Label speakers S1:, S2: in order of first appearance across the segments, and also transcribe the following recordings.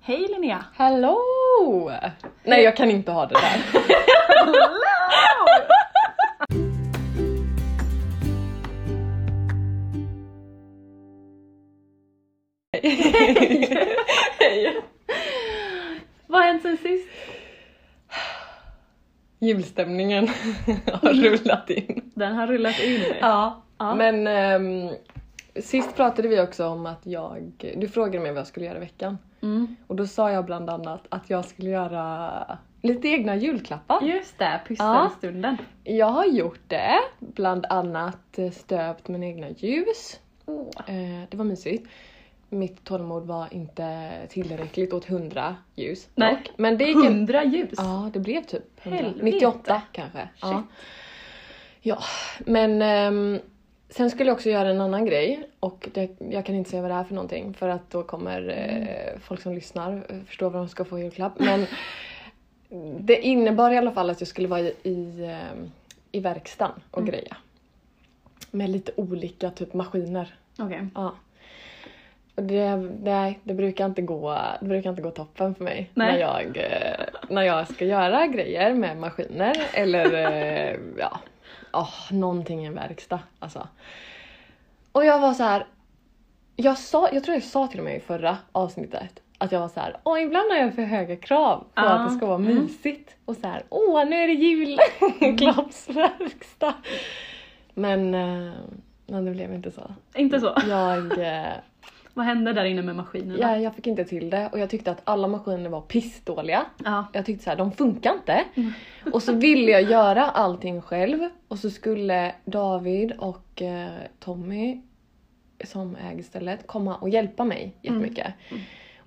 S1: Hej Linnea!
S2: Hallå! Nej jag kan inte ha det där. Hej!
S1: Vad har hänt sen sist?
S2: Julstämningen har rullat in.
S1: Den har rullat in.
S2: Ja.
S1: Ja.
S2: Men ehm, sist pratade vi också om att jag... Du frågade mig vad jag skulle göra i veckan.
S1: Mm.
S2: Och då sa jag bland annat att jag skulle göra lite egna julklappar.
S1: Just det,
S2: Ja.
S1: pysselstunden.
S2: Jag har gjort det, bland annat stöpt mina egna ljus. Eh, det var mysigt. Mitt tålamod var inte tillräckligt åt 100 ljus.
S1: Nej.
S2: dock. Men det gick en-
S1: Hundra ljus!
S2: Ja, det blev typ 100.
S1: Helvete.
S2: 98 kanske. Ja.
S1: Shit.
S2: ja, men ehm, sen skulle jag också göra en annan grej och det, jag kan inte säga vad det är för någonting för att då kommer
S1: Mm.
S2: eh, folk som lyssnar eh, förstå vad de ska få i julklapp. Men det innebar i alla fall att jag skulle vara i, i, ehm, i verkstaden och
S1: Mm.
S2: greja. Med lite olika typ maskiner.
S1: Okej.
S2: Ja. Och det, nej, det brukar inte gå, det brukar inte gå toppen för mig
S1: Nej.
S2: när jag, eh, när jag ska göra grejer med maskiner eller eh, ja, oh, någonting i en verkstad. Alltså. Och jag var så här. Jag, sa, jag tror jag sa till och med i förra avsnittet att jag var så här, åh ibland har jag för höga krav på
S1: Ja.
S2: att det ska vara
S1: Mm.
S2: mysigt och så här, åh nu är det julklappsverkstad. Men, eh, men det blev inte så.
S1: Inte så.
S2: Jag, eh,
S1: Vad hände där inne med maskinerna?
S2: jag, jag fick inte till det och jag tyckte att alla maskiner var pissdåliga.
S1: Ja.
S2: Jag tyckte så här, de funkar inte. Och så ville jag göra allting själv och så skulle David och eh, Tommy som äger stället komma och hjälpa mig jättemycket.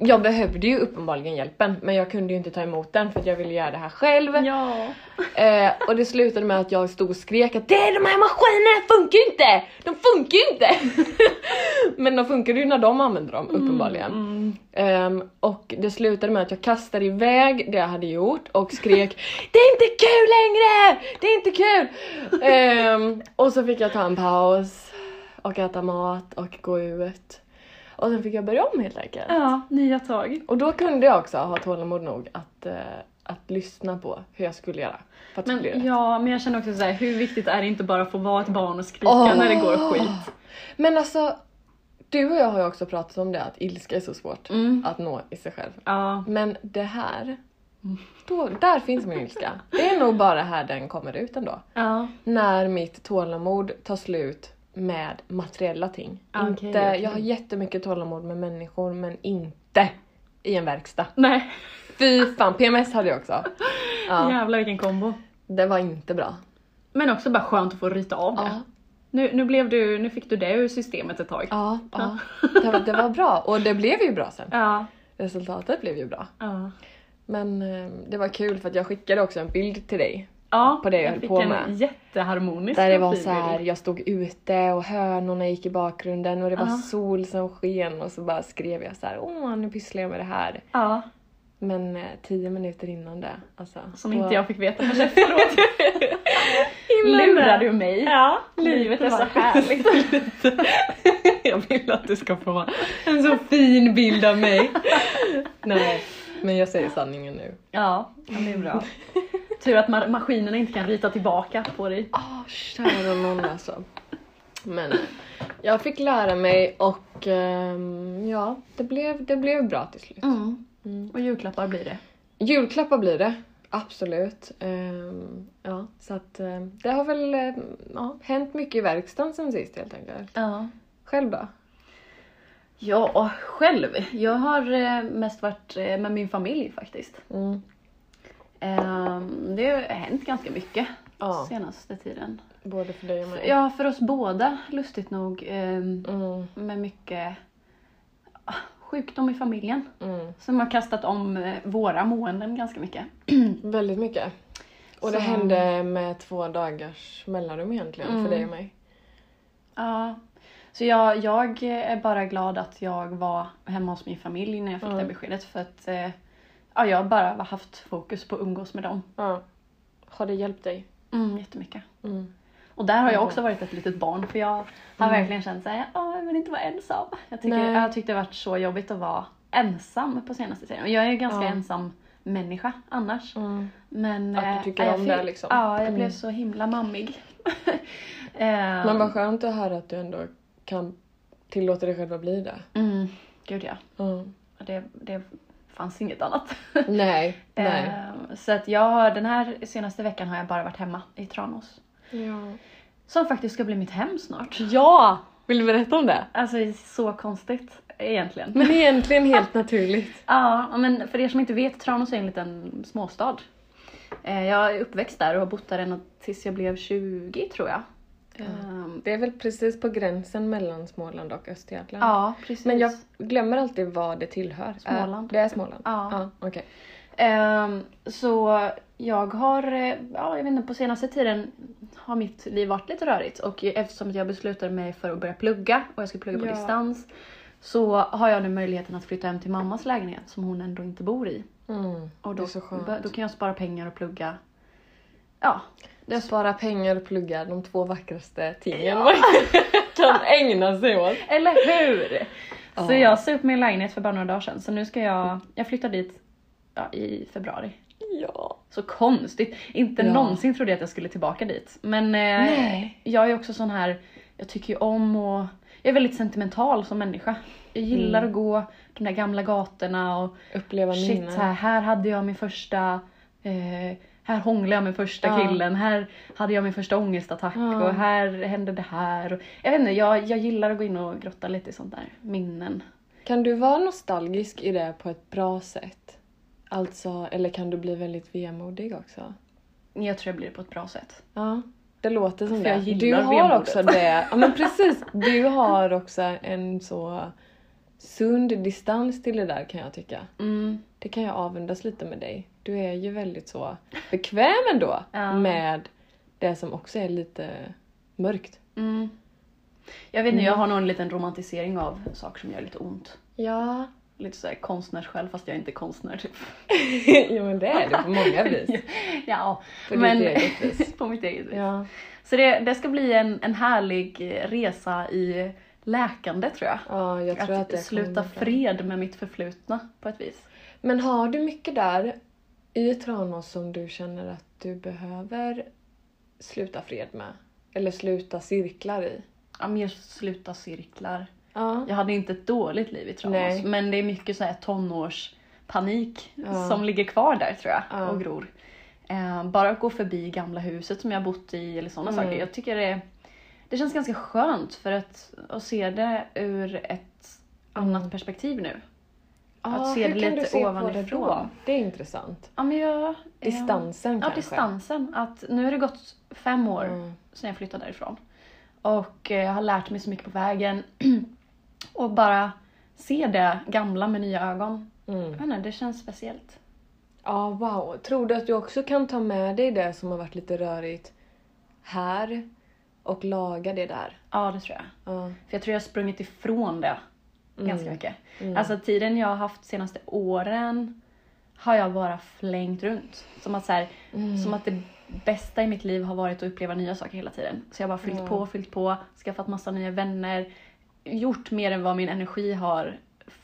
S2: Jag behövde ju uppenbarligen hjälpen men jag kunde ju inte ta emot den för att jag ville göra det här själv.
S1: ja.
S2: Eh, och det slutade med att jag stod och skrek att det är de här maskinerna funkar ju inte! De funkar ju inte! Men de funkar ju när de använder dem uppenbarligen.
S1: Mm.
S2: Ehm, och det slutade med att jag kastade iväg det jag hade gjort och skrek Det är inte kul längre! Det är inte kul! Ehm, och så fick jag ta en paus och äta mat och gå ut. Och sen fick jag börja om helt enkelt.
S1: ja, nya tag.
S2: Och då kunde jag också ha tålamod nog att, eh, att lyssna på hur jag skulle göra. För att det skulle bli rätt.
S1: Men, ja, men jag känner också så här, hur viktigt är det inte bara att få vara ett barn och skrika
S2: Åh.
S1: när det går skit?
S2: Men alltså, du och jag har ju också pratat om det, att ilska är så svårt
S1: Mm.
S2: att nå i sig själv.
S1: Ja.
S2: Men det här, då, där finns min ilska. Det är nog bara här den kommer ut ändå.
S1: ja.
S2: När mitt tålamod tar slut med materiella ting.
S1: Ah, Okej,
S2: inte,
S1: okej.
S2: Jag har jättemycket tålamod med människor men inte i en verkstad.
S1: Nej,
S2: Fy fan, PMS hade jag också. Ja,
S1: jävlar vilken kombo.
S2: Det var inte bra.
S1: Men också bara skönt att få ryta av det.
S2: Ja,
S1: Nu, nu, blev du, nu fick du det ur systemet ett tag.
S2: ja, ja. Det, var, det var bra och det blev ju bra sen.
S1: Ja.
S2: Resultatet blev ju bra.
S1: Ja.
S2: Men eh, det var kul för att jag skickade också en bild till dig.
S1: ja
S2: På det jag höll
S1: fick
S2: på
S1: en
S2: med.
S1: jätteharmonisk
S2: Där det
S1: och
S2: var
S1: fin
S2: så här,
S1: bild.
S2: jag stod ute och hönorna gick i bakgrunden och det var
S1: Ja.
S2: sol som sken och så bara skrev jag så här, åh nu pysslar jag med det här.
S1: Ja,
S2: Men eh, tio minuter innan det, alltså.
S1: som
S2: då
S1: inte jag fick veta förrän efteråt. Lurar du mig? Ja, livet är så härligt.
S2: jag vill att du ska få vara en så fin bild av mig. Nej, men jag säger sanningen nu.
S1: Ja, men det är bra. Tur att ma- maskinerna inte kan rita tillbaka på dig.
S2: Åh, kära nån alltså. Men eh, jag fick lära mig och ehm, ja, det blev, det blev bra till slut.
S1: Mm. Och julklappar blir det.
S2: Julklappar blir det. Absolut. Ehm, ja, så att ehm, det har väl ehm, ja, hänt mycket i verkstaden sen sist helt enkelt.
S1: Ja.
S2: Själv då?
S1: Ja, själv. Jag har eh, mest varit eh, med min familj faktiskt.
S2: Mm.
S1: Ehm, Det har hänt ganska mycket
S2: Ja.
S1: senaste tiden.
S2: Både för dig och mig.
S1: Ja, för oss båda lustigt nog. ehm,
S2: Mm,
S1: Med mycket ah, sjukdom i familjen.
S2: mm.
S1: Som har kastat om eh, våra måenden ganska mycket.
S2: Väldigt mycket. Och det
S1: Så-
S2: hände med två dagars mellanrum egentligen
S1: Mm.
S2: för dig och mig.
S1: Ja. Så jag, jag är bara glad att jag var hemma hos min familj när jag fick
S2: Mm.
S1: det beskedet. För att eh, ja, jag har bara haft fokus på att umgås med dem.
S2: Ja. Har det hjälpt dig?
S1: Mm, jättemycket.
S2: Mm.
S1: Och där har jag också varit ett litet barn för jag har verkligen känt såhär, "Åh, jag vill inte vara ensam. Jag, tycker,
S2: Nej.
S1: jag tyckte det varit så jobbigt att vara ensam på senaste tiden. Och jag är ju ganska
S2: Ja.
S1: ensam människa annars.
S2: Mm.
S1: Men,
S2: Att du
S1: eh,
S2: tycker
S1: jag
S2: om
S1: fick-
S2: det, liksom.
S1: Ja, jag
S2: Mm.
S1: blev så himla mammig. eh,
S2: Men vad skönt att höra att du ändå kan tillåta dig själv att bli det.
S1: mm, gud ja.
S2: Ja.
S1: Det, det fanns inget annat.
S2: Nej, nej.
S1: Eh, så att jag har, den här senaste veckan har jag bara varit hemma i Tranås.
S2: Ja.
S1: Som faktiskt ska bli mitt hem snart.
S2: Mm. ja! Vill du berätta om det?
S1: Alltså det är så konstigt egentligen.
S2: Men egentligen helt naturligt.
S1: Ja, men för er som inte vet, Tranås är en liten småstad. Eh, Jag är uppväxt där och har bott där ända tills jag blev 20 tror jag. Ehm,
S2: Det är väl precis på gränsen mellan Småland och Östergötland.
S1: Ja, precis.
S2: Men jag glömmer alltid vad det tillhör.
S1: Småland.
S2: Eh, Det är Småland?
S1: Ja.
S2: Okej.
S1: Ehm, så jag har, eh, ja jag vet inte, på senaste tiden har mitt liv varit lite rörigt och eftersom att jag beslutade mig för att börja plugga och jag ska plugga på
S2: Ja.
S1: distans så har jag nu möjligheten att flytta hem till mammas lägenhet som hon ändå inte bor i.
S2: Mm.
S1: Och
S2: det
S1: då,
S2: är så skönt.
S1: då kan jag spara pengar och plugga. Ja,
S2: Jag sparar pengar och pluggar de två vackraste tingen man kan ägna sig åt.
S1: Eller hur? Så
S2: Ja.
S1: jag sa upp min lägenhet för bara några dagar sedan så nu ska jag, jag flyttar dit ja, i februari.
S2: Ja.
S1: Så konstigt! Inte
S2: Ja.
S1: någonsin trodde jag att jag skulle tillbaka dit. Men eh,
S2: Nej.
S1: jag är också sån här, jag tycker ju om och jag är väldigt sentimental som människa. Jag gillar
S2: Mm.
S1: att gå de där gamla gatorna och
S2: Uppleva
S1: shit
S2: minnen.
S1: så här, här hade jag min första eh, här hånglade jag med första
S2: Ja.
S1: killen, här hade jag min första ångestattack
S2: Ja.
S1: och här hände det här. Och, jag vet inte, jag, jag gillar att gå in och grotta lite i sånt där. Minnen.
S2: Kan du vara nostalgisk i det på ett bra sätt? Alltså, eller kan du bli väldigt vemodig också?
S1: Jag tror jag blir det på ett bra sätt.
S2: Ja, det låter som
S1: För
S2: det.
S1: jag
S2: du
S1: gillar
S2: har
S1: vemodet.
S2: också det. Ja men precis. Du har också en så sund distans till det där kan jag tycka.
S1: Mm.
S2: Det kan jag avundas lite med dig. Du är ju väldigt så bekväm ändå
S1: Ja.
S2: med det som också är lite mörkt.
S1: Mm. Jag vet inte, jag har nog en liten romantisering av saker som gör lite ont.
S2: Ja.
S1: Lite såhär konstnärssjäl fast jag är inte konstnär typ.
S2: jo men det är det på många vis.
S1: ja,
S2: På ditt eget vis.
S1: på mitt eget vis.
S2: Ja.
S1: Så det, det ska bli en, en härlig eh, resa i läkande tror jag.
S2: ja, jag tror att, det
S1: att sluta
S2: kommer fram.
S1: fred med mitt förflutna på ett vis.
S2: Men har du mycket där i Tranås som du känner att du behöver sluta fred med? Eller sluta cirklar i?
S1: Ja, mer sluta cirklar.
S2: Ja.
S1: Jag hade inte ett dåligt liv i Tranås
S2: Nej.
S1: men det är mycket så här tonårspanik
S2: Ja.
S1: som ligger kvar där tror jag
S2: Ja.
S1: och gror. Eh, bara att gå förbi gamla huset som jag bott i eller sådana
S2: Mm.
S1: saker. Jag tycker det, det känns ganska skönt för att, att se det ur ett
S2: Mm.
S1: annat perspektiv nu. Att se det
S2: hur kan
S1: lite
S2: du se på det
S1: ovanifrån.
S2: då? Det är intressant.
S1: Ja, men jag, ehm,
S2: Distansen
S1: Ja,
S2: kanske?
S1: distansen. Att nu har det gått fem år
S2: Mm.
S1: sedan jag flyttade därifrån. Och eh, jag har lärt mig så mycket på vägen. och bara se det gamla med nya ögon.
S2: Mm.
S1: Jag vet inte, det känns speciellt.
S2: Ja, wow. Tror du att du också kan ta med dig det som har varit lite rörigt här och laga det där?
S1: Ja, det tror jag. Mm.
S2: Ja.
S1: För jag tror jag har sprungit ifrån det ganska mycket. Alltså tiden jag har haft senaste åren har jag bara flängt runt. Som att, så här, som att det bästa i mitt liv har varit att uppleva nya saker hela tiden. Så jag har bara fyllt på, fyllt på, skaffat massa nya vänner. Gjort mer än vad min energi har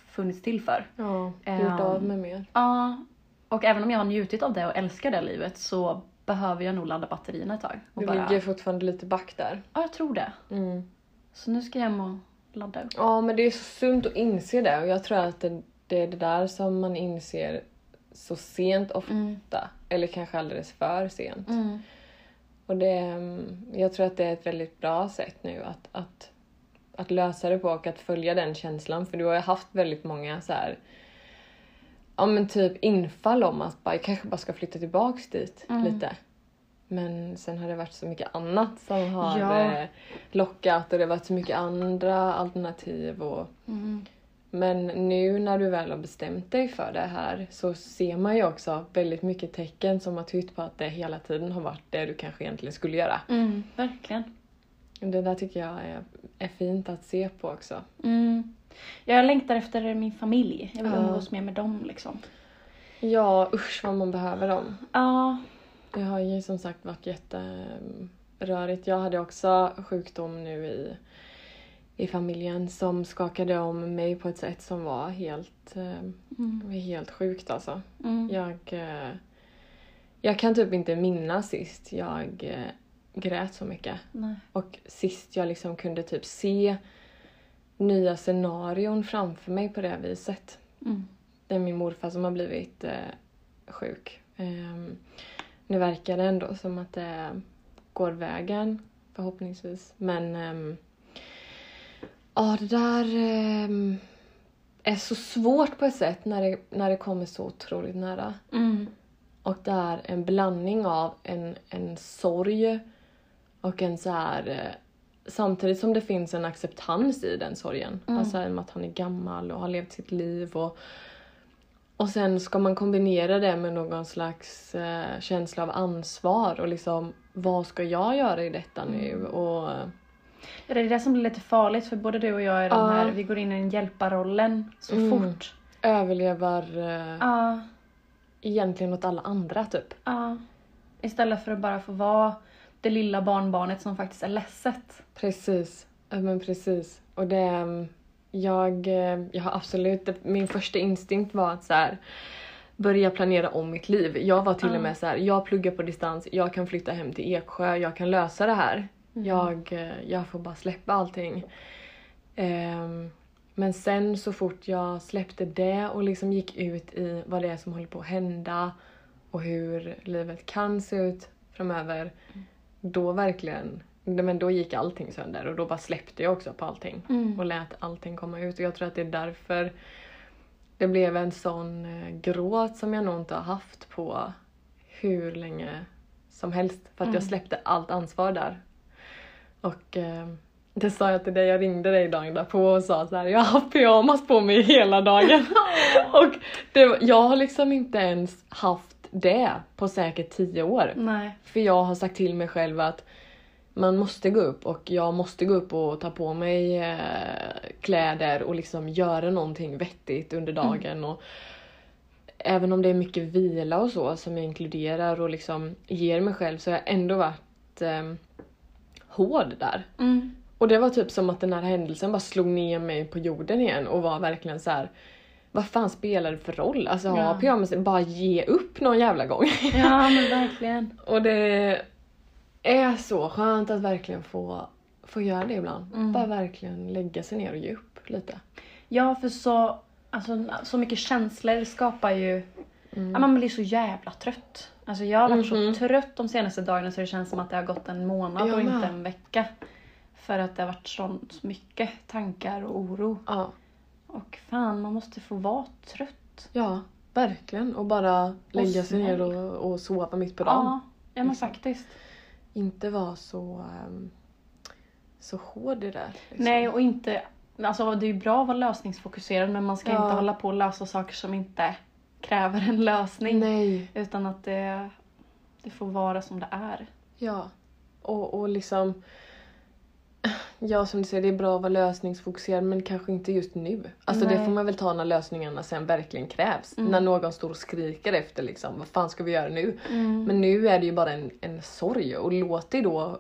S1: funnits till för.
S2: ja gjort
S1: Ehm.
S2: av med mer.
S1: Ja, och även om jag har njutit av det och älskar det livet så behöver jag nog ladda batterierna ett tag. Och
S2: Du
S1: bara,
S2: ligger fortfarande lite back där.
S1: ja, jag tror det.
S2: Mm.
S1: Så nu ska jag hem och ladda upp.
S2: Ja, men det är så sunt att inse det och jag tror att det, det är det där som man inser så sent ofta. Eller kanske alldeles för sent.
S1: Mm.
S2: Och det, mm, jag tror att det är ett väldigt bra sätt nu att, att, att lösa det på och att följa den känslan. För du har ju haft väldigt många så här, ja men typ infall om att bara, jag kanske bara ska flytta tillbaks dit
S1: Mm.
S2: lite. Men sen har det varit så mycket annat som har
S1: Ja.
S2: eh, lockat och det har varit så mycket andra alternativ. Och,
S1: Mm.
S2: Men nu när du väl har bestämt dig för det här så ser man ju också väldigt mycket tecken som har tytt på att det hela tiden har varit det du kanske egentligen skulle göra.
S1: Mm, verkligen.
S2: Det där tycker jag är, är fint att se på också.
S1: Mm. Jag längtar efter min familj. Jag vill
S2: Ja.
S1: umgås mer med dem liksom.
S2: Ja, usch vad man behöver dem.
S1: Ja.
S2: Det har ju som sagt varit jätterörigt. Jag hade också sjukdom nu i, i familjen som skakade om mig på ett sätt som var helt, eh,
S1: Mm.
S2: helt sjukt alltså.
S1: Mm.
S2: Jag, eh, jag kan typ inte minnas sist jag eh, grät så mycket.
S1: Nej.
S2: Och sist jag liksom kunde typ se nya scenarion framför mig på det här viset.
S1: Mm.
S2: Det är min morfar som har blivit eh, sjuk. Ehm, nu verkar det ändå som att det går vägen, förhoppningsvis. Men ehm, ja, det där ehm, är så svårt på ett sätt när det, när det kommer så otroligt nära.
S1: Mm.
S2: Och det är en blandning av en, en sorg och en så här... eh, Samtidigt som det finns en acceptans i den sorgen.
S1: Mm.
S2: Alltså i och med att han är gammal och har levt sitt liv. Och, och sen ska man kombinera det med någon slags eh, känsla av ansvar och liksom vad ska jag göra i detta
S1: Mm.
S2: nu? Och, eh,
S1: Ja, Det är det som blir lite farligt för både du och jag är
S2: Ja.
S1: de här, vi går in i den hjälparrollen så
S2: Mm.
S1: fort.
S2: överlever eh,
S1: Ja,
S2: egentligen åt alla andra typ.
S1: ja. Istället för att bara få vara det lilla barnbarnet som faktiskt är ledset.
S2: Precis. Ja, men precis. Och det... mm, Jag, eh, jag har absolut... Min första instinkt var att så här, börja planera om mitt liv. Jag var till
S1: Ja.
S2: och med så här, jag pluggar på distans, jag kan flytta hem till Eksjö, jag kan lösa det här. Jag, eh, jag får bara släppa allting. Ehm, men sen så fort jag släppte det och liksom gick ut i vad det är som håller på att hända och hur livet kan se ut framöver. Då verkligen, nej, men då gick allting sönder och då bara släppte jag också på allting.
S1: Mm.
S2: Och lät allting komma ut och jag tror att det är därför det blev en sån eh, gråt som jag nog inte har haft på hur länge som helst. För att jag
S1: Mm.
S2: släppte allt ansvar där. Och eh, det sa jag till dig, jag ringde dig dagen därpå och sa så här, jag har haft pyjamas på mig hela dagen. och det, var- jag har liksom inte ens haft det på säkert tio år.
S1: Nej.
S2: För jag har sagt till mig själv att man måste gå upp och jag måste gå upp och ta på mig eh, kläder och liksom göra någonting vettigt under dagen. Och även om det är mycket vila och så som jag inkluderar och liksom ger mig själv så har jag ändå varit eh, hård där.
S1: Mm.
S2: Och det var typ som att den här händelsen bara slog ner mig på jorden igen och var verkligen så här. Vad fan spelar det för roll? Alltså ha
S1: Ja.
S2: pyjamas, bara ge upp någon jävla gång.
S1: Ja men verkligen.
S2: Och det är så skönt att verkligen få, få göra det ibland.
S1: Mm.
S2: Bara verkligen lägga sig ner och ge upp lite.
S1: Ja för så, alltså, så mycket känslor skapar ju
S2: Mm.
S1: Ja, man blir så jävla trött. Alltså jag har varit
S2: Mhm.
S1: så trött de senaste dagarna så det känns som att det har gått en månad
S2: Jag
S1: och
S2: med.
S1: inte en vecka. För att det har varit sånt mycket tankar och oro.
S2: Ja,
S1: Och fan, man måste få vara trött.
S2: ja, verkligen. Och bara lägga sig ner
S1: snäll.
S2: och, och sova mitt på dagen.
S1: Ja, ja men
S2: Exakt.
S1: faktiskt.
S2: Inte vara så, ehm, så hård i det. där, Liksom.
S1: Nej, och inte... Alltså det är ju bra att vara lösningsfokuserad men man ska
S2: Ja.
S1: inte hålla på och lösa saker som inte kräver en lösning.
S2: Nej.
S1: Utan att det, det får vara som det är.
S2: Ja. Och, och liksom... Ja, som du säger, det är bra att vara lösningsfokuserad men kanske inte just nu. Alltså det
S1: Nej.
S2: får man väl ta när lösningarna sen verkligen krävs.
S1: Mm.
S2: När någon står och skriker efter liksom, vad fan ska vi göra nu?
S1: Mm.
S2: Men nu är det ju bara en, en sorg och låt dig då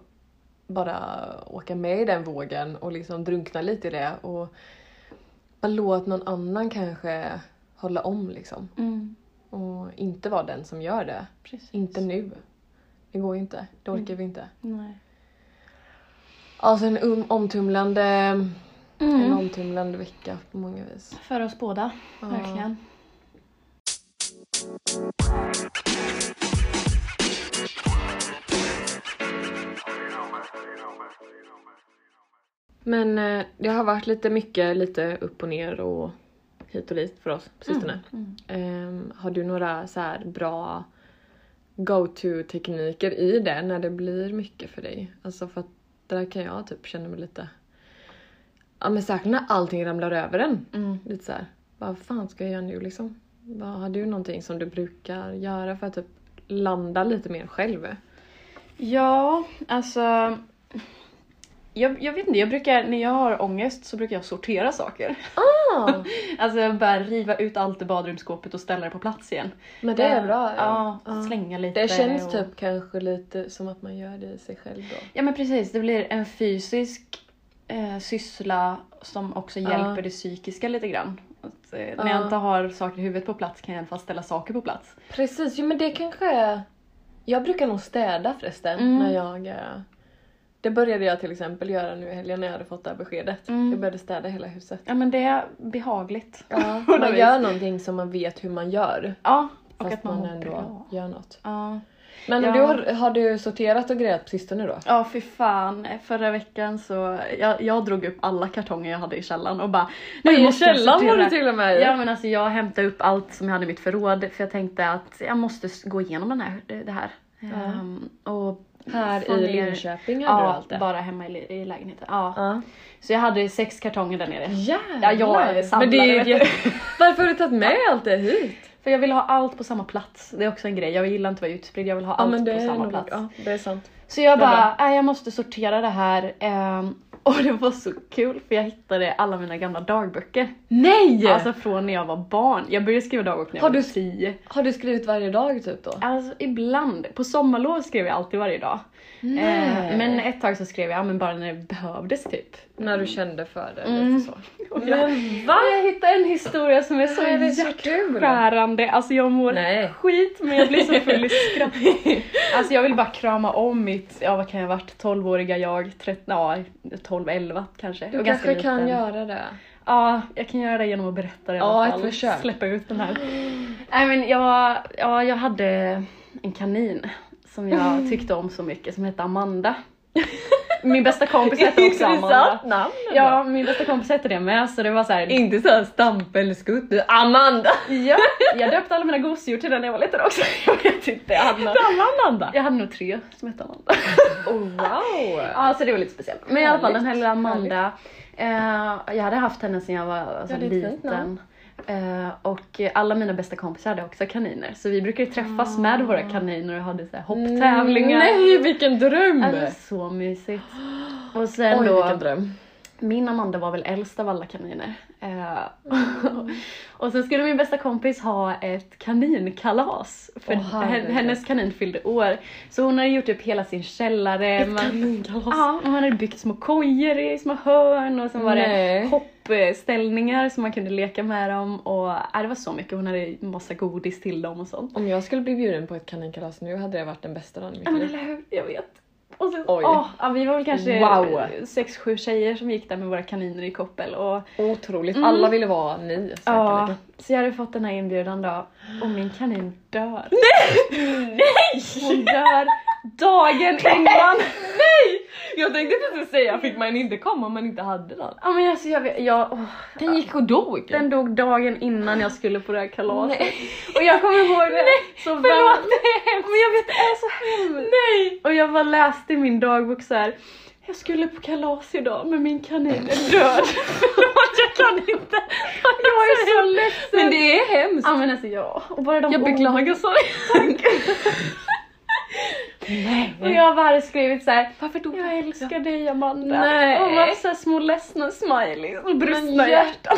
S2: bara åka med i den vågen och liksom drunkna lite i det och bara låt någon annan kanske hålla om liksom.
S1: Mm,
S2: Och inte vara den som gör det.
S1: precis.
S2: Inte nu. Det går ju inte. Det orkar
S1: Mm.
S2: vi inte.
S1: Nej.
S2: Alltså en um, omtumlande, en
S1: Mm.
S2: omtumlande vecka på många vis.
S1: För oss båda.
S2: Ja.
S1: Verkligen.
S2: Men eh, det har varit lite mycket, lite upp och ner och hit och dit för oss på sistone.
S1: Mm.
S2: Ehm, har du några så här bra go-to-tekniker i det när det blir mycket för dig? Alltså för att där kan jag typ känna mig lite... Ja men särskilt när allting ramlar över en.
S1: Mm.
S2: Lite så här, vad fan ska jag göra nu liksom? Vad, har du någonting som du brukar göra för att typ landa lite mer själv?
S1: Ja, alltså... Jag, jag vet inte, jag brukar, när jag har ångest så brukar jag sortera saker.
S2: Ah,
S1: Alltså jag bara riva ut allt i badrumsskåpet och ställa det på plats igen.
S2: men det är bra.
S1: Ja,
S2: Ja.
S1: slänga lite.
S2: Det känns
S1: och-
S2: typ kanske lite som att man gör det i sig själv då.
S1: Ja men precis, det blir en fysisk eh, syssla som också
S2: Ja.
S1: hjälper det psykiska lite grann. Att, eh, När jag
S2: Ja.
S1: inte har saker i huvudet på plats kan jag i alla fall ställa saker på plats.
S2: Precis, jo men det kanske är... Jag brukar nog städa förresten
S1: Mm.
S2: när jag... eh, Det började jag till exempel göra nu i helgen när jag hade fått det här beskedet.
S1: Mm.
S2: Jag började städa hela huset.
S1: Ja men det är behagligt.
S2: Ja,
S1: På något
S2: man
S1: vis.
S2: gör någonting som man vet hur man gör.
S1: Ja, och
S2: Fast
S1: att man, mår
S2: ändå
S1: bra.
S2: gör något.
S1: Ja.
S2: Men
S1: Ja.
S2: du har, har du sorterat och grejat på sistone då?
S1: Ja, fy fan. Förra veckan så... Jag, jag drog upp alla kartonger jag hade i källaren och bara... Nu
S2: Oj, i
S1: måste jag
S2: källaren var
S1: sortera.
S2: du till och med i.
S1: Ja, men alltså jag hämtade upp allt som jag hade i mitt förråd för jag tänkte att jag måste s- gå igenom den här, det här. Ehm, och
S2: Här
S1: få
S2: i
S1: ner-
S2: Linköping hade du
S1: Ja,
S2: allt det.
S1: bara hemma i, li- i lägenheten. Ja.
S2: Ja. Mm.
S1: Så jag hade sex kartonger där nere.
S2: Jävlar!
S1: jag är samlare,
S2: Men det är
S1: vet
S2: ju
S1: du.
S2: jätte- Varför har du tagit med allt det hit?
S1: För jag vill ha allt på samma plats. Det är också en grej. Jag gillar inte att vara utspridd. Jag vill ha allt på samma
S2: nog-
S1: plats.
S2: Ja, det är sant.
S1: Så jag bara,
S2: bra.
S1: nej jag måste sortera det här. ehm, och det var så kul för jag hittade alla mina gamla dagböcker.
S2: Nej!
S1: Alltså från när jag var barn. Jag började skriva dagbok när jag
S2: Har
S1: var
S2: du-
S1: tio.
S2: har du skrivit varje dag typ då?
S1: Alltså ibland. På sommarlov skrev jag alltid varje dag.
S2: Nej.
S1: Eh, men ett tag så skrev jag men bara när det behövdes typ.
S2: När du kände för det
S1: Mm.
S2: lite så.
S1: Och jag,
S2: Men va?
S1: jag hittade en historia som är så
S2: Nej, det är så kul.
S1: hjärtskärande. Alltså jag mår
S2: Nej.
S1: skit men jag blir så full i skratt. Alltså jag vill bara krama om mitt, ja vad kan jag ha varit, 12-åriga jag, 13, ja 12-11 kanske.
S2: Du
S1: Och ganska
S2: kanske kan
S1: liten.
S2: göra det.
S1: Ja, jag kan göra det genom att berätta det i
S2: Ja,
S1: alla
S2: ett
S1: fall.
S2: försök.
S1: Släppa ut den här. Nej men jag, ja, jag hade en kanin som
S2: Mm.
S1: jag tyckte om så mycket som hette Amanda. Min bästa kompis hette också Amanda.
S2: namn
S1: Ja, min bästa kompis hette det med så det var så här.
S2: Inte såhär stampelskutt, du Amanda!
S1: Ja, jag döpte alla mina gosedjur till den när jag var liten också. Jag vet inte, jag hade, nog-
S2: Amanda!
S1: jag hade nog tre som hette Amanda.
S2: Oh, wow!
S1: Ja, så det var lite speciellt. Men i alla fall den här lilla
S2: Härligt,
S1: Amanda. Eh, jag hade haft henne sedan jag var alltså,
S2: Ja, det är ett fint
S1: liten.
S2: namn.
S1: Eh, och eh, alla mina bästa kompisar hade också kaniner. Så vi brukade träffas med våra kaniner och hade så här hopptävlingar.
S2: Ah. Nej vilken dröm!
S1: Alltså, så mysigt. Och sen
S2: Oj
S1: då,
S2: vilken dröm.
S1: min Amanda var väl äldst av alla kaniner.
S2: Mm.
S1: Eh, och sen skulle min bästa kompis ha ett kaninkalas. För
S2: Åh,
S1: hen-
S2: herregud.
S1: hennes kanin fyllde år. Så hon hade gjort upp hela sin källare.
S2: Ett
S1: Man-
S2: kaninkalas.
S1: Ja, och man hade byggt små kojor i små hörn och sen var
S2: Nej.
S1: det hoppställningar som man kunde leka med dem och ja, det var så mycket. Hon hade massa godis till dem och sånt.
S2: Om jag skulle bli bjuden på ett kaninkalas nu hade det varit den bästa dagen i
S1: Ja
S2: mitt
S1: men
S2: liv.
S1: eller hur, jag vet. Och sen,
S2: Oj.
S1: åh, ja, vi var väl kanske
S2: Wow.
S1: sex, sju tjejer som gick där med våra kaniner i koppel och
S2: Otroligt,
S1: Mm.
S2: alla ville vara ni säkerligen.
S1: ja, så jag hade fått den här inbjudan då och min kanin dör. Hon dör dagen innan.
S2: Nej! Jag tänkte precis säga, fick man inte komma om man inte hade någon?
S1: Ja men alltså jag vet, jag, åh.
S2: Den gick och dog.
S1: Den dog dagen innan jag skulle på det här kalaset.
S2: Nej.
S1: Och jag kommer ihåg det
S2: Nej,
S1: så väl.
S2: Förlåt, det är hemskt.
S1: Men jag vet, det är så hemskt.
S2: Nej!
S1: Och jag bara läste i min dagbok så här. Jag skulle på kalas idag men min kanin är död. Förlåt jag kan inte. Jag är så ledsen.
S2: Men det är hemskt.
S1: Ja men alltså ja. Och bara de
S2: Jag
S1: orden.
S2: beklagar sorry.
S1: Och
S2: Nej.
S1: jag bara hade skrivit så här.
S2: Varför då?
S1: Jag älskar dig Amanda.
S2: Nej.
S1: Och massa små ledsna smileys och brustna
S2: Men
S1: hjärtan.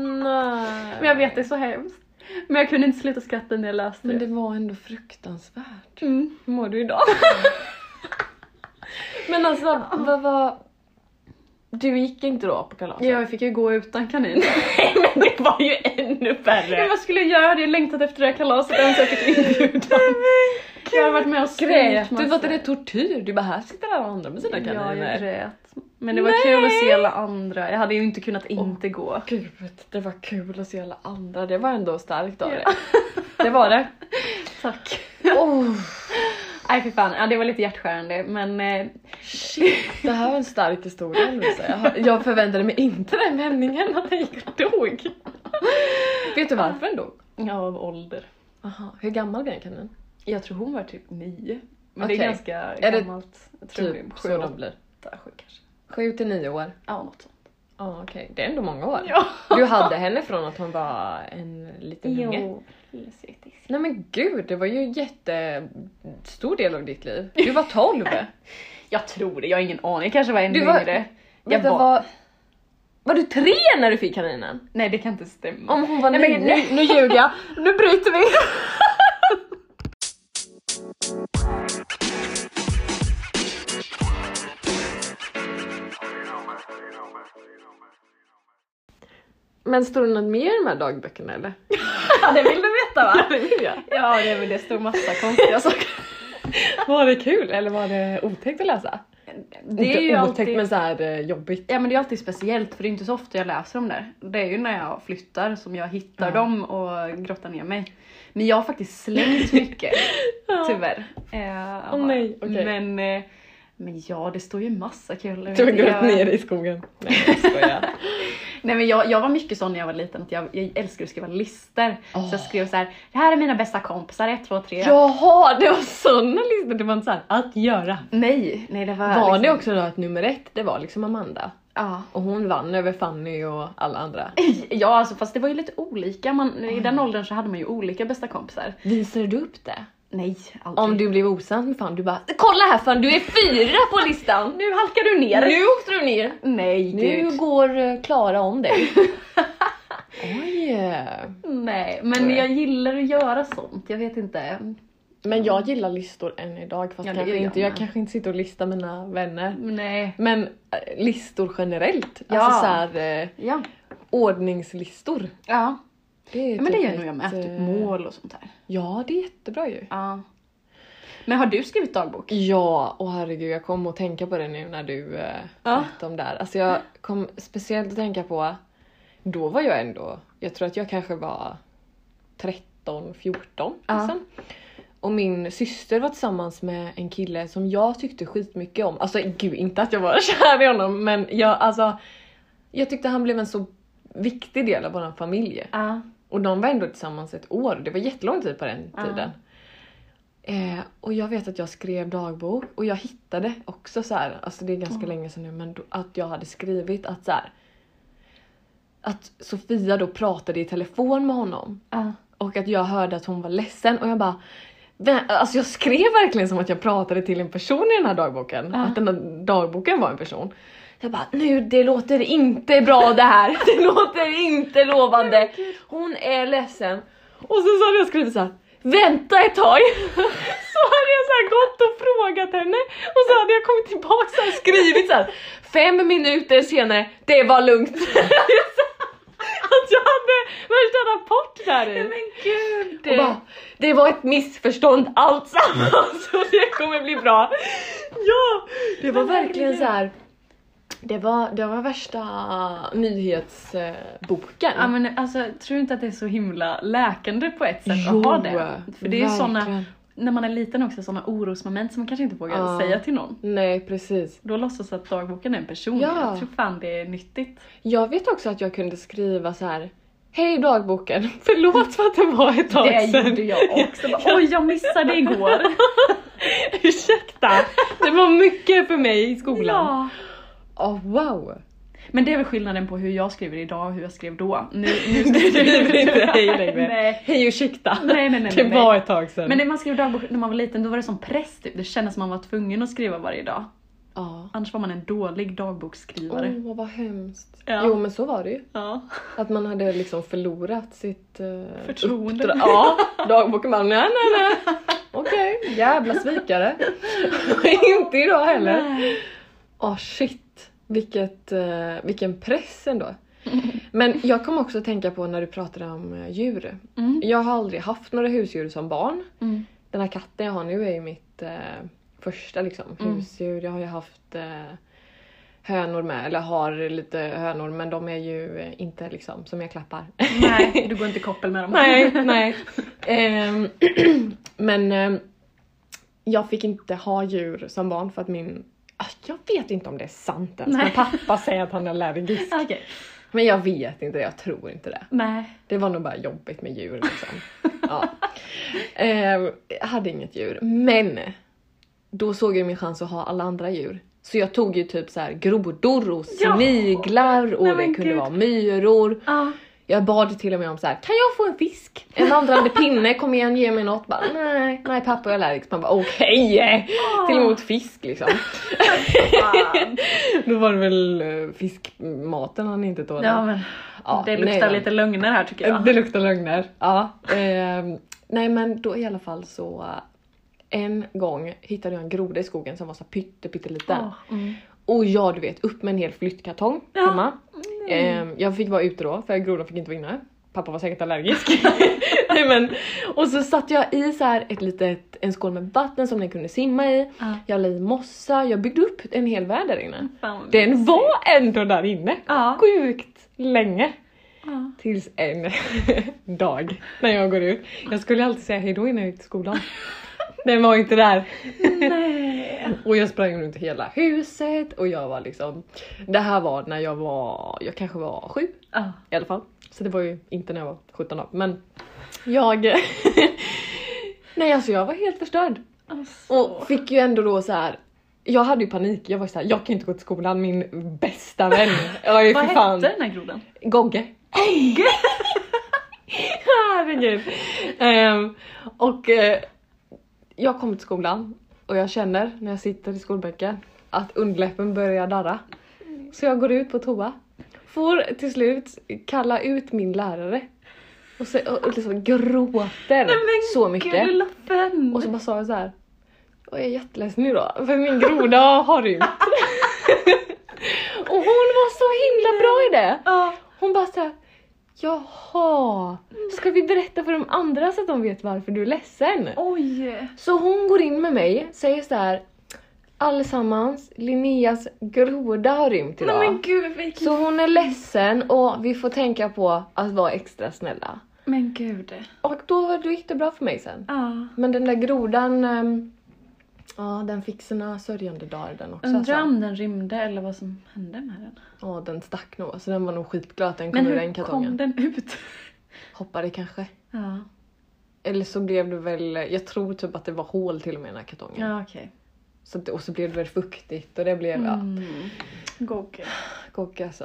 S2: Nej.
S1: Men jag vet det är så hemskt. Men jag kunde inte sluta skratta när jag läste
S2: Men
S1: det.
S2: det var ändå fruktansvärt.
S1: Mm.
S2: Hur mår du idag? Men alltså, vad var... Du gick inte då på kalaset?
S1: Ja, jag fick ju gå utan kanin.
S2: men det var ju ännu
S1: Men
S2: värre!
S1: vad skulle jag göra? Jag hade ju längtat efter det här kalaset ens jag fick inbjudan. Jag har varit med och
S2: Grät
S1: massa.
S2: du? Var inte det tortyr? Du bara, här sitter alla andra med sina
S1: Ja, jag
S2: kaniner.
S1: grät. Men det var
S2: Nej.
S1: kul att se alla andra. Jag hade ju inte kunnat inte gå.
S2: Gud, det var kul att se alla andra. Det var ändå starkt av dig.
S1: Ja.
S2: Det var det.
S1: Tack.
S2: Oh,
S1: Nej, för fan. Ja, det var lite hjärtskärande, men... Eh,
S2: det här var en stark historia Lovisa. Jag, har- jag förväntade mig inte den vändningen att den gick och dog. Vet du varför den dog?
S1: ja, av ålder.
S2: Aha, hur gammal blev den kaninen?
S1: Jag tror hon var typ nio. Men det är
S2: Okej.
S1: ganska
S2: det
S1: gammalt. Jag tror
S2: Typ
S1: det
S2: så
S1: är sju,
S2: de blir.
S1: åtta, sju kanske.
S2: Sju till nio år.
S1: Ja, något sånt.
S2: Ja okej, det är ändå många år.
S1: Ja.
S2: Du hade henne från att hon var en liten unge.
S1: Jo. lilla sötis.
S2: Nej men gud, det var ju en jättestor del av ditt liv. Du var 12.
S1: Jag tror det, jag har ingen aning. Jag kanske var ännu
S2: Du var-
S1: yngre. Jag
S2: Vänta,
S1: var-
S2: var... Var du tre när du fick kaninen?
S1: Nej, det kan inte stämma.
S2: Om hon var
S1: Nej,
S2: nio?
S1: men-
S2: Nu, nu ljuger jag, nu bryter vi! Men står det något mer i de här dagböckerna eller?
S1: Ja, det vill du veta va?
S2: det vill jag.
S1: Ja, det, men det står massa konstiga saker.
S2: Var det kul eller var det otäckt att läsa?
S1: Det är
S2: Inte
S1: ju
S2: otäckt
S1: alltid...
S2: men såhär eh, jobbigt.
S1: Ja men det är alltid speciellt för det är inte så ofta jag läser om det. Det är ju när jag flyttar som jag hittar
S2: Ja.
S1: dem och grottar ner mig. Men jag har faktiskt slängt mycket tyvärr. Eh,
S2: Åh, nej, okej.
S1: men, eh, men ja det står ju massa kul. Jag
S2: Du har
S1: vet inte,
S2: grävt
S1: jag-
S2: ner i skogen. Nej jag skojar.
S1: Nej men jag, jag var mycket sån när jag var liten att jag, jag älskade att skriva listor.
S2: Åh.
S1: Så jag skrev så här: det här är mina bästa kompisar, 1, 2, 3.
S2: Jaha det var sådana listor, det var inte såhär att göra.
S1: Nej, nej det var...
S2: Var
S1: liksom-
S2: det också då att nummer ett det var liksom Amanda?
S1: Ja.
S2: Och hon vann över Fanny och alla andra.
S1: Ja alltså fast det var ju lite olika, man, i den åldern så hade man ju olika bästa kompisar.
S2: Visade du upp det?
S1: Nej, aldrig.
S2: Om du blev osams med Fanny, du bara “kolla här Fanny, du är fyra på listan!”
S1: Nu halkar du ner!
S2: Nu åkte du ner!
S1: Nej
S2: Nu
S1: gud.
S2: går eh, Klara om dig. Oj! eh.
S1: Nej, men
S2: Nej.
S1: jag gillar att göra sånt. Jag vet inte.
S2: Men jag gillar listor än idag
S1: Mm.
S2: fast
S1: Ja, det
S2: kanske
S1: gör jag
S2: inte, jag
S1: med.
S2: kanske inte sitter och listar mina vänner.
S1: Nej.
S2: Men eh, listor generellt,
S1: Ja.
S2: alltså såhär eh,
S1: Ja.
S2: ordningslistor.
S1: Ja.
S2: är
S1: ja men det
S2: typ
S1: gör nog jag med.
S2: ett,
S1: Typ
S2: eh,
S1: mål och sånt där.
S2: Ja det är jättebra ju.
S1: Ja. Men har du skrivit dagbok?
S2: Ja, och herregud jag kom att tänka på det nu när du eh,
S1: Ja.
S2: berättade om det här. Alltså jag kom speciellt att tänka på, då var jag ändå, jag tror att jag kanske var 13, 14
S1: Ja.
S2: liksom. Och min syster var tillsammans med en kille som jag tyckte skitmycket om. Alltså gud, inte att jag var kär i honom men jag alltså, jag tyckte han blev en så viktig del av vår familj.
S1: Ja.
S2: Och de var ändå tillsammans ett år, det var jättelång tid på den
S1: Ja.
S2: tiden. Eh, och jag vet att jag skrev dagbok och jag hittade också så här, alltså det är ganska länge sedan nu, men då, att jag hade skrivit att så här, att Sofia då pratade i telefon med honom
S1: Ja.
S2: och att jag hörde att hon var ledsen och jag bara "Vä- Alltså jag skrev verkligen som att jag pratade till en person i den här dagboken.
S1: Ja.
S2: Att den här dagboken var en person. Jag bara nu det låter inte bra det här. Det låter inte lovande. Hon är ledsen. Och sen så hade jag skrivit så här. Vänta ett tag! Så hade jag så här gått och frågat henne och så hade jag kommit tillbaka och så här skrivit så här. Fem minuter senare, det var lugnt. Att jag hade värsta rapport där i.
S1: gud!
S2: Och bara, det var ett missförstånd alltsammans så det kommer bli bra. Ja, det var
S1: Men
S2: verkligen
S1: herregud.
S2: så här. Det var, det var värsta nyhetsboken.
S1: Ja men alltså tror du inte att det är så himla läkande på ett sätt att ha det? För det är ju såna, när man är liten också, såna orosmoment som man kanske inte vågar
S2: Ja.
S1: säga till någon.
S2: Nej precis.
S1: Då låtsas att dagboken är en person.
S2: Ja.
S1: Jag tror fan det är nyttigt.
S2: Jag vet också att jag kunde skriva så här. Hej dagboken, förlåt för att det var ett tag
S1: Det
S2: sedan.
S1: gjorde jag också. Bara, Oj, jag missade igår.
S2: Ursäkta, det var mycket för mig i skolan.
S1: Ja.
S2: Ja. Oh, wow.
S1: Men det är väl skillnaden på hur jag skriver idag och hur jag skrev då. Nu, nu
S2: Det blir inte hej längre.
S1: Nej.
S2: Hej ursäkta.
S1: Nej, nej, nej,
S2: det
S1: nej.
S2: var ett tag sedan.
S1: Men när man skrev dagbok när man var liten då var det som press typ. Det kändes som man var tvungen att skriva varje dag.
S2: Ja.
S1: Annars var man en dålig dagboksskrivare.
S2: Åh vad hemskt.
S1: Ja.
S2: Jo men så var det ju.
S1: Ja.
S2: Att man hade liksom förlorat sitt eh,
S1: Förtroende.
S2: uppdra- Ja, dagboken bara nej nej nej. Okej, jävla svikare. Inte idag heller.
S1: Nej.
S2: Åh Ah, shit, vilket, eh, vilken press ändå. Men jag kom också att tänka på när du pratade om eh, djur.
S1: Mm.
S2: Jag har aldrig haft några husdjur som barn.
S1: Mm.
S2: Den här katten jag har nu är ju mitt eh, första liksom,
S1: Mm.
S2: husdjur. Jag har ju haft eh, hönor med, eller har lite hönor men de är ju eh, inte liksom som jag klappar.
S1: Nej, du går inte i koppel med dem.
S2: nej. Ehm, men ehm, jag fick inte ha djur som barn för att min Ah, jag vet inte om det är sant ens,
S1: Nej.
S2: men pappa säger att han är allergisk.
S1: Okej.
S2: Men jag vet inte det, jag tror inte det.
S1: Nej.
S2: Det var nog bara jobbigt med djur liksom. ja. eh, jag hade inget djur, men då såg jag min chans att ha alla andra djur. Så jag tog ju typ så här grodor och
S1: Ja.
S2: sniglar och
S1: Nej,
S2: det
S1: men
S2: kunde
S1: gud.
S2: vara myror.
S1: Ja.
S2: Jag bad till och med om så här, kan jag få en fisk? En vandrande pinne, kom igen ge mig något. Bara, nej, nej pappa jag är allergisk. Man bara okej!
S1: Ah.
S2: Till och med åt fisk liksom.
S1: Fan.
S2: Då var det väl eh, fiskmaten han inte tålde.
S1: Ja men
S2: Ja, Äh,
S1: det
S2: nej,
S1: luktar
S2: men-
S1: lite lögner här tycker jag.
S2: det luktar lögner. Ja. Ehm, nej men då i alla fall så eh, en gång hittade jag en groda i skogen som var så pytte pytteliten.
S1: Ja. Mm.
S2: Och jag du vet upp med en hel flyttkartong
S1: Ja.
S2: hemma. Ehm, jag fick vara ute då för grodan fick inte vara inne. Pappa var säkert allergisk. Nej, men, och så satte jag i så här ett litet, en skål med vatten som den kunde simma i.
S1: Ja.
S2: Jag la i mossa, jag byggde upp en hel värld där inne.
S1: Fan, vad
S2: Den
S1: mysigt.
S2: var ändå där inne.
S1: Ja.
S2: Sjukt länge.
S1: Ja.
S2: Tills en dag när jag går ut. Jag skulle alltid säga hejdå innan jag gick till skolan. Den var inte där.
S1: Nej.
S2: Och jag sprang runt hela huset och jag var liksom... Det här var när jag var... Jag kanske var sju
S1: Ja.
S2: i alla fall. Så det var ju inte när jag var 17 då. Men jag... Nej alltså jag var helt förstörd.
S1: Alltså.
S2: Och fick ju ändå då så här. Jag hade ju panik, jag var ju såhär, jag kan inte gå till skolan, min bästa vän. Jag är ju
S1: Vad
S2: för fan...
S1: hette den här grodan?
S2: Gogge. Gogge! Herregud. Ehm, och eh, jag kommer till skolan och jag känner när jag sitter i skolbänken att underläppen börjar darra. Så jag går ut på toa. Får till slut kalla ut min lärare. Och, så, och och liksom gråter så mycket.
S1: Gud, lappen.
S2: Och så bara sa jag så här. Jag är jätteledsen nu då, för min groda har rymt. och hon var så himla bra i det.
S1: Ja.
S2: Hon bara såhär, jaha, ska vi berätta för de andra så att de vet varför du är ledsen?
S1: Oj.
S2: Så hon går in med mig, säger så här. allesammans, Linneas groda har rymt
S1: Nej
S2: idag.
S1: men gud vilken...
S2: så hon är ledsen och vi får tänka på att vara extra snälla.
S1: Men gud.
S2: Och då, då gick det bra för mig sen.
S1: Ja.
S2: Men den där grodan, ehm, ja den fick sina sörjande dagar den också.
S1: Undrar
S2: alltså.
S1: om den rymde eller vad som hände med den.
S2: Ja den stack nog, alltså den var nog skitglad att den kom
S1: Men
S2: ur den
S1: hur kom
S2: kartongen.
S1: den ut?
S2: Hoppade kanske.
S1: Ja,
S2: Eller så blev det väl, jag tror typ att det var hål till och med i den här kartongen.
S1: ja okej.
S2: Så att, och så blev det väl fuktigt och det blev, ja,
S1: Mm. Gogge.
S2: kock alltså.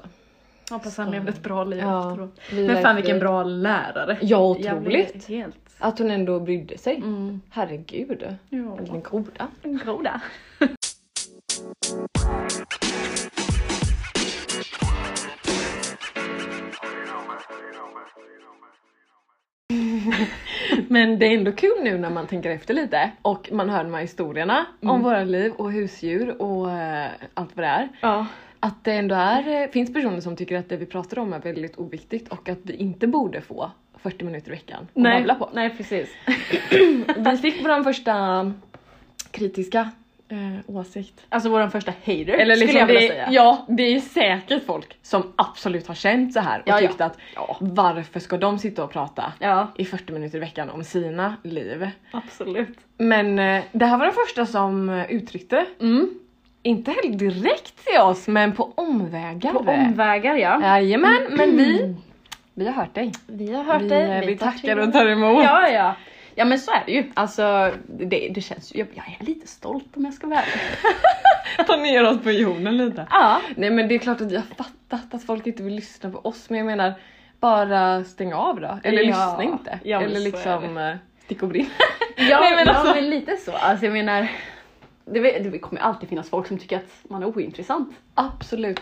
S1: Hoppas han levde ett bra liv
S2: Ja,
S1: efteråt.
S2: vila i
S1: Men fan vilken
S2: frid.
S1: bra lärare.
S2: Ja,
S1: Jag blev
S2: otroligt!
S1: helt...
S2: Att hon ändå brydde sig.
S1: Mm.
S2: Herregud.
S1: Ja.
S2: Vilken groda.
S1: En groda. Mm.
S2: Men det är ändå kul nu när man tänker efter lite och man hör de här historierna
S1: Mm.
S2: om våra liv och husdjur och eh, allt vad det är.
S1: Ja.
S2: Att det ändå är, eh, finns personer som tycker att det vi pratar om är väldigt oviktigt och att vi inte borde få 40 minuter i veckan att
S1: Nej,
S2: babbla på.
S1: nej precis.
S2: Vi fick vår första kritiska eh, åsikt.
S1: Alltså våran första hater
S2: Eller liksom
S1: skulle jag vilja
S2: det,
S1: säga.
S2: Ja, det är säkert folk som absolut har känt så här och
S1: Ja, ja.
S2: tyckt att varför ska de sitta och prata
S1: Ja,
S2: i 40 minuter i veckan om sina liv?
S1: absolut.
S2: Men eh, det här var den första som eh, uttryckte,
S1: Mm.
S2: inte heller direkt till oss men på omvägar.
S1: På omvägar ja.
S2: Jajamän, men vi, vi har hört dig.
S1: Vi har hört
S2: vi, eh,
S1: dig.
S2: vi tackar
S1: till.
S2: och tar emot.
S1: Ja, ja. Ja men så är det ju. Alltså det, det känns ju, jag, jag är lite stolt om jag ska vara ärlig.
S2: Ta ner oss på jorden lite.
S1: Ja.
S2: Nej men det är klart att jag har fattat att folk inte vill lyssna på oss men jag menar bara stäng av då. Eller
S1: Ja,
S2: lyssna inte.
S1: ja, men
S2: Eller
S1: så är
S2: liksom eh, stick och brinn.
S1: Ja,
S2: Nej, men
S1: men,
S2: alltså-
S1: ja men lite så. Alltså jag menar, det, vet- det kommer alltid finnas folk som tycker att man är ointressant.
S2: absolut.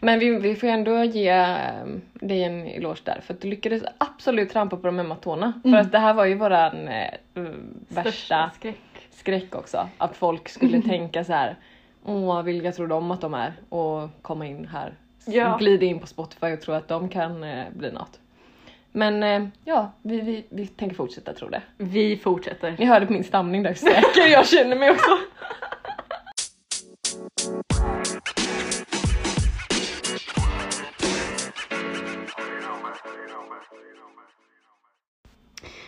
S2: Men vi, vi får ju ändå ge eh, dig en eloge där för att du lyckades absolut trampa på de ömma tårna. För att det här var ju våran eh, eh, värsta
S1: Största skräck.
S2: skräck också. Att folk skulle tänka så här. Åh, vilka tror de att de är? Och komma in här.
S1: Ja.
S2: Glida in på Spotify och tro att de kan eh, bli något. Men eh, ja, vi, vi, vi tänker fortsätta tro det.
S1: Vi fortsätter.
S2: Ni hörde på min stamning där hur säker jag känner mig också.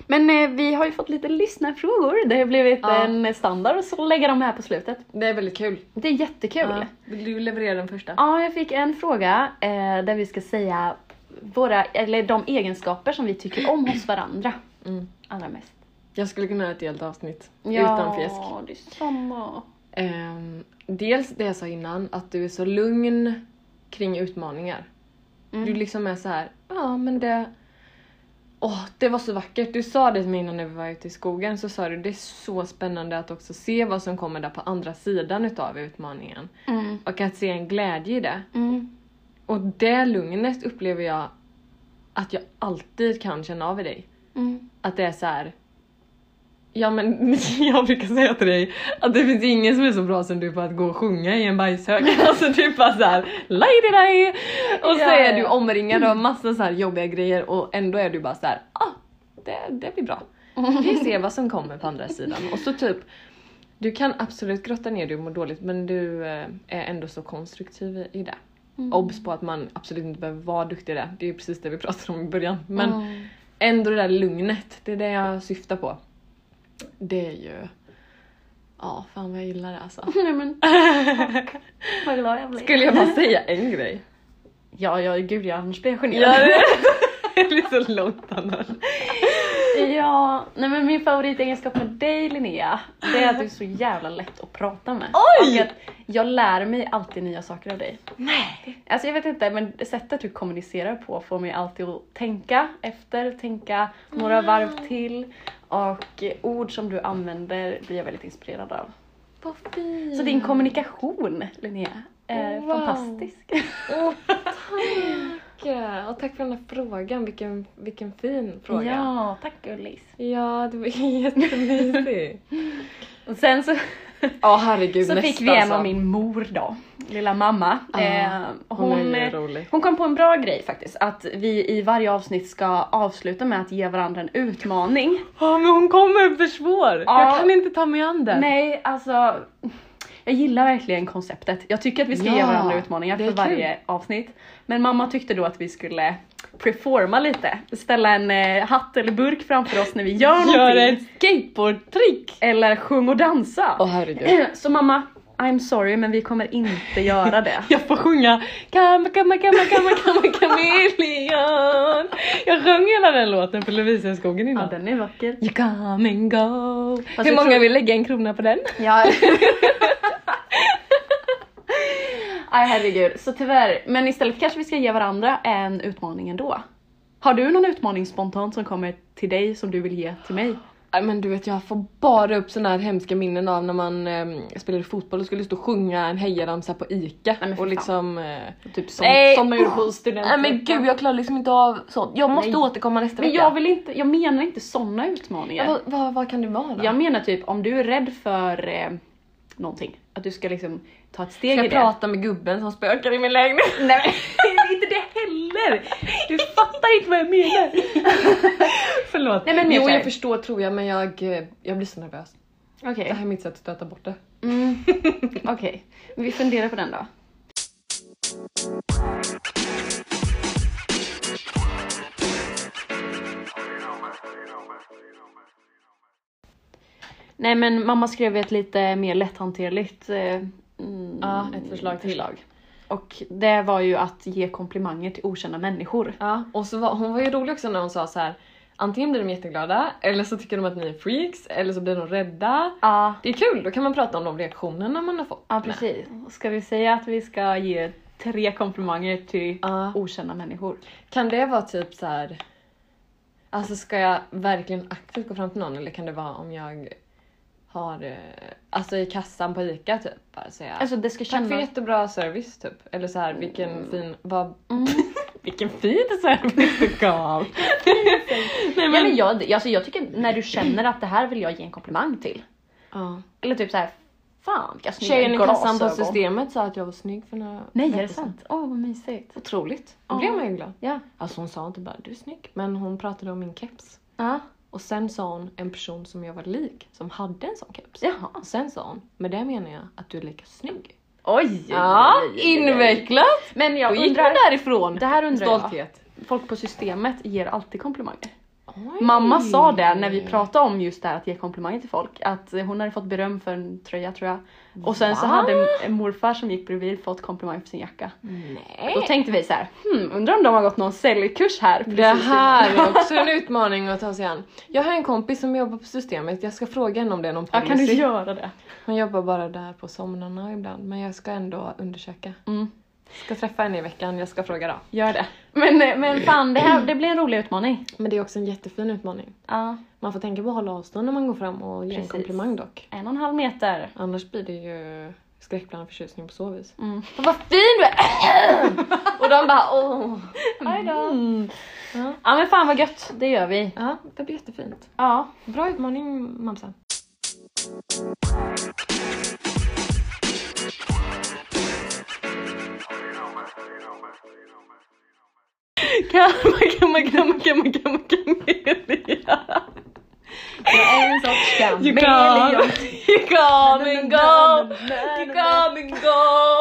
S1: Men eh, vi har ju fått lite lyssnarfrågor. Det har blivit
S2: Ja.
S1: en standard och så lägger de här på slutet.
S2: Det är väldigt kul.
S1: Det är jättekul.
S2: Ja. Vill du leverera den första?
S1: Ja, jag fick en fråga eh, där vi ska säga våra, eller de egenskaper som vi tycker om hos varandra.
S2: Mm.
S1: Allra mest.
S2: Jag skulle kunna göra ett helt avsnitt utan fjäsk.
S1: Ja, det är samma.
S2: Ehm, dels det jag sa innan, att du är så lugn kring utmaningar.
S1: Mm.
S2: Du liksom är så här, ja men det... Åh, det var så vackert. Du sa det till mig innan när vi var ute i skogen, så sa du det är så spännande att också se vad som kommer där på andra sidan utav utmaningen.
S1: Mm.
S2: Och att se en glädje i det.
S1: Mm.
S2: Och det lugnet upplever jag att jag alltid kan känna av i dig.
S1: Mm.
S2: Att det är så här. Ja men jag brukar säga till dig att det finns ingen som är så bra som du på att gå och sjunga i en bajshög. Alltså typ bara såhär lajdi-laj! Och så
S1: Ja,
S2: är
S1: ja.
S2: du omringad av massa så här jobbiga grejer och ändå är du bara så här, ah, det, det blir bra. Vi ser vad som kommer på andra sidan. Och så typ, du kan absolut grotta ner dig och må dåligt men du eh, är ändå så konstruktiv i- i det.
S1: Mm.
S2: Obs på att man absolut inte behöver vara duktig i det, det är ju precis det vi pratade om i början. Men
S1: Mm.
S2: ändå det där lugnet, det är det jag syftar på. Det är ju... Ja, fan vad jag gillar det alltså.
S1: Nej men vad glad jag blir.
S2: Skulle jag bara säga en grej?
S1: Ja, ja gud ja, annars blir jag
S2: Gör
S1: generad.
S2: det? Det blir så långt annars.
S1: ja, nej men min favoritegenskap med dig Linnea, det är att du är så jävla lätt att prata med.
S2: Oj!
S1: Och att jag lär mig alltid nya saker av dig.
S2: Nej!
S1: Alltså jag vet inte, men sättet du kommunicerar på får mig alltid att tänka efter, tänka
S2: Ah.
S1: några varv till. Och ord som du använder blir jag väldigt inspirerad av.
S2: Vad fint!
S1: Så din kommunikation Linnea är
S2: Mm. Oh, Wow.
S1: fantastisk.
S2: Åh, tack! Och tack för den här frågan, vilken, vilken fin fråga.
S1: Ja, tack gullis.
S2: ja, det var jättemysigt.
S1: Och sen så,
S2: Ja, herregud alltså.
S1: så fick vi en av min mor då, lilla mamma.
S2: Ja,
S1: Eh,
S2: Hon,
S1: hon,
S2: är ju rolig.
S1: hon kom på en bra grej faktiskt, att vi i varje avsnitt ska avsluta med att ge varandra en utmaning.
S2: Ja, men hon kommer för svår! Jag
S1: Ja.
S2: kan inte ta mig an den.
S1: Nej, alltså. Jag gillar verkligen konceptet. Jag tycker att vi ska ge
S2: Ja,
S1: varandra utmaningar
S2: det
S1: för
S2: är kul.
S1: varje avsnitt. Men mamma tyckte då att vi skulle performa lite. Ställa en eh, hatt eller burk framför oss när vi gör
S2: Gör
S1: någonting.
S2: ett skateboardtrick!
S1: Eller sjung och dansa.
S2: Åh herregud.
S1: Så mamma, I'm sorry men vi kommer inte göra det.
S2: Jag får sjunga Kamma kamma kamma kamma kamma kameleon. Jag sjöng hela den låten på Lovisiaskogen
S1: ja,
S2: innan.
S1: den är vacker.
S2: You come and go.
S1: Fast
S2: Hur
S1: jag
S2: många
S1: tror-
S2: vill lägga en krona på den?
S1: Ja. Aj herregud, så tyvärr. Men istället kanske vi ska ge varandra en utmaning ändå. Har du någon utmaning spontant som kommer till dig som du vill ge till mig?
S2: Nej men du vet jag får bara upp såna här hemska minnen av när man eh, spelade fotboll och skulle stå och sjunga en hejaramsa på ICA.
S1: men fy
S2: och
S1: fan.
S2: liksom... Eh,
S1: Typ som,
S2: nej!
S1: som man gjorde på
S2: usch.
S1: studenten.
S2: Nej men gud jag klarar liksom inte av sånt. Jag måste
S1: Nej.
S2: återkomma nästa
S1: Men
S2: vecka.
S1: jag vill inte, jag menar inte sådana
S2: ja,
S1: utmaningar.
S2: vad, vad, vad kan det vara då?
S1: Jag menar typ om du är rädd för eh, någonting, att du ska liksom ta ett steg
S2: Ska
S1: i
S2: jag
S1: det.
S2: prata med gubben som spökar i min lägenhet?
S1: Nej men inte det heller! Du fattar inte vad jag menar.
S2: Förlåt.
S1: Nej, men mer
S2: jo
S1: så här-
S2: jag förstår tror jag men jag, eh, jag blir så nervös.
S1: Okej.
S2: Det här är mitt sätt att stöta bort det.
S1: Mm. Okej, men vi funderar på den då. Nej men mamma skrev ett lite mer lätthanterligt eh, mm,
S2: Ja, ett förslag till.
S1: Och det var ju att ge komplimanger till okända människor.
S2: Ja, och så var, hon var ju rolig också när hon sa så här. antingen blir de jätteglada eller så tycker de att ni är freaks eller så blir de rädda.
S1: Ja,
S2: Det är kul, då kan man prata om de reaktionerna man har fått.
S1: ja
S2: med.
S1: precis. Ska vi säga att vi ska ge tre komplimanger till
S2: Ja.
S1: okända människor?
S2: Kan det vara typ så här. Alltså ska jag verkligen aktivt gå fram till någon eller kan det vara om jag har, eh, alltså i kassan på ICA typ bara säga
S1: Alltså det ska
S2: Tack för
S1: kännas...
S2: jättebra service typ. Eller så här, vilken fin, vad,
S1: Mm.
S2: vilken fin service du gav.
S1: Ja,
S2: Nej
S1: men jag, alltså jag tycker när du känner att det här vill jag ge en komplimang till.
S2: Ja.
S1: Eller typ så här, fan vilka snygga
S2: Tjejen i kassan på
S1: glasögon.
S2: systemet sa att jag var snygg för några
S1: Nej är
S2: veckor
S1: det
S2: sedan.
S1: sant? Åh vad mysigt.
S2: Otroligt. Då
S1: Ja.
S2: blev man ju glad.
S1: Ja.
S2: Alltså hon sa inte bara du är snygg, men hon pratade om min keps.
S1: ja.
S2: Och sen sa hon en person som jag var lik som hade en sån keps.
S1: Jaha.
S2: Och sen sa hon, med det menar jag att du är lika snygg.
S1: Oj!
S2: Ja,
S1: oj, oj, oj.
S2: invecklat!
S1: Men
S2: Då
S1: jag
S2: gick
S1: undrar,
S2: man därifrån.
S1: det här undrar jag.
S2: Stolthet.
S1: Folk på systemet ger alltid komplimanger.
S2: Oj.
S1: Mamma sa det när vi pratade om just det här att ge komplimanger till folk. Att eh, hon hade fått beröm för en tröja tror jag. Och sen så
S2: Va?
S1: hade m- morfar som gick bredvid fått komplimang för sin jacka.
S2: Nej.
S1: Då tänkte vi så här, hmm, undrar om de har gått någon säljkurs här. precis
S2: Det här
S1: innan."
S2: är också en utmaning att ta sig an. Jag har en kompis som jobbar på systemet, jag ska fråga henne om det är någon
S1: Ja, kan
S2: policy.
S1: du göra det?
S2: Hon jobbar bara där på somnarna ibland, men jag ska ändå undersöka.
S1: Mm.
S2: Ska träffa henne i veckan, jag ska fråga då.
S1: Gör det. Men, eh, men fan, det, här, det blir en rolig utmaning.
S2: Men det är också en jättefin utmaning.
S1: Ja.
S2: Man får tänka på att hålla avstånd när man går fram och ge en
S1: Precis.
S2: komplimang dock.
S1: En och en halv meter.
S2: Annars blir det ju skräckblandad förtjusning på så vis.
S1: Mm.
S2: Vad fin du är! och de bara åh. Hej då.
S1: Mm.
S2: Ja.
S1: Ja men fan vad gött, det gör vi.
S2: Ja, det blir jättefint.
S1: Ja.
S2: Bra utmaning mamsen.
S1: Gamma, gamma, gamma, gamma, gamma, kamelia. Jag är en sorts kameleon.
S2: You come and go.
S1: You come and go. Oh,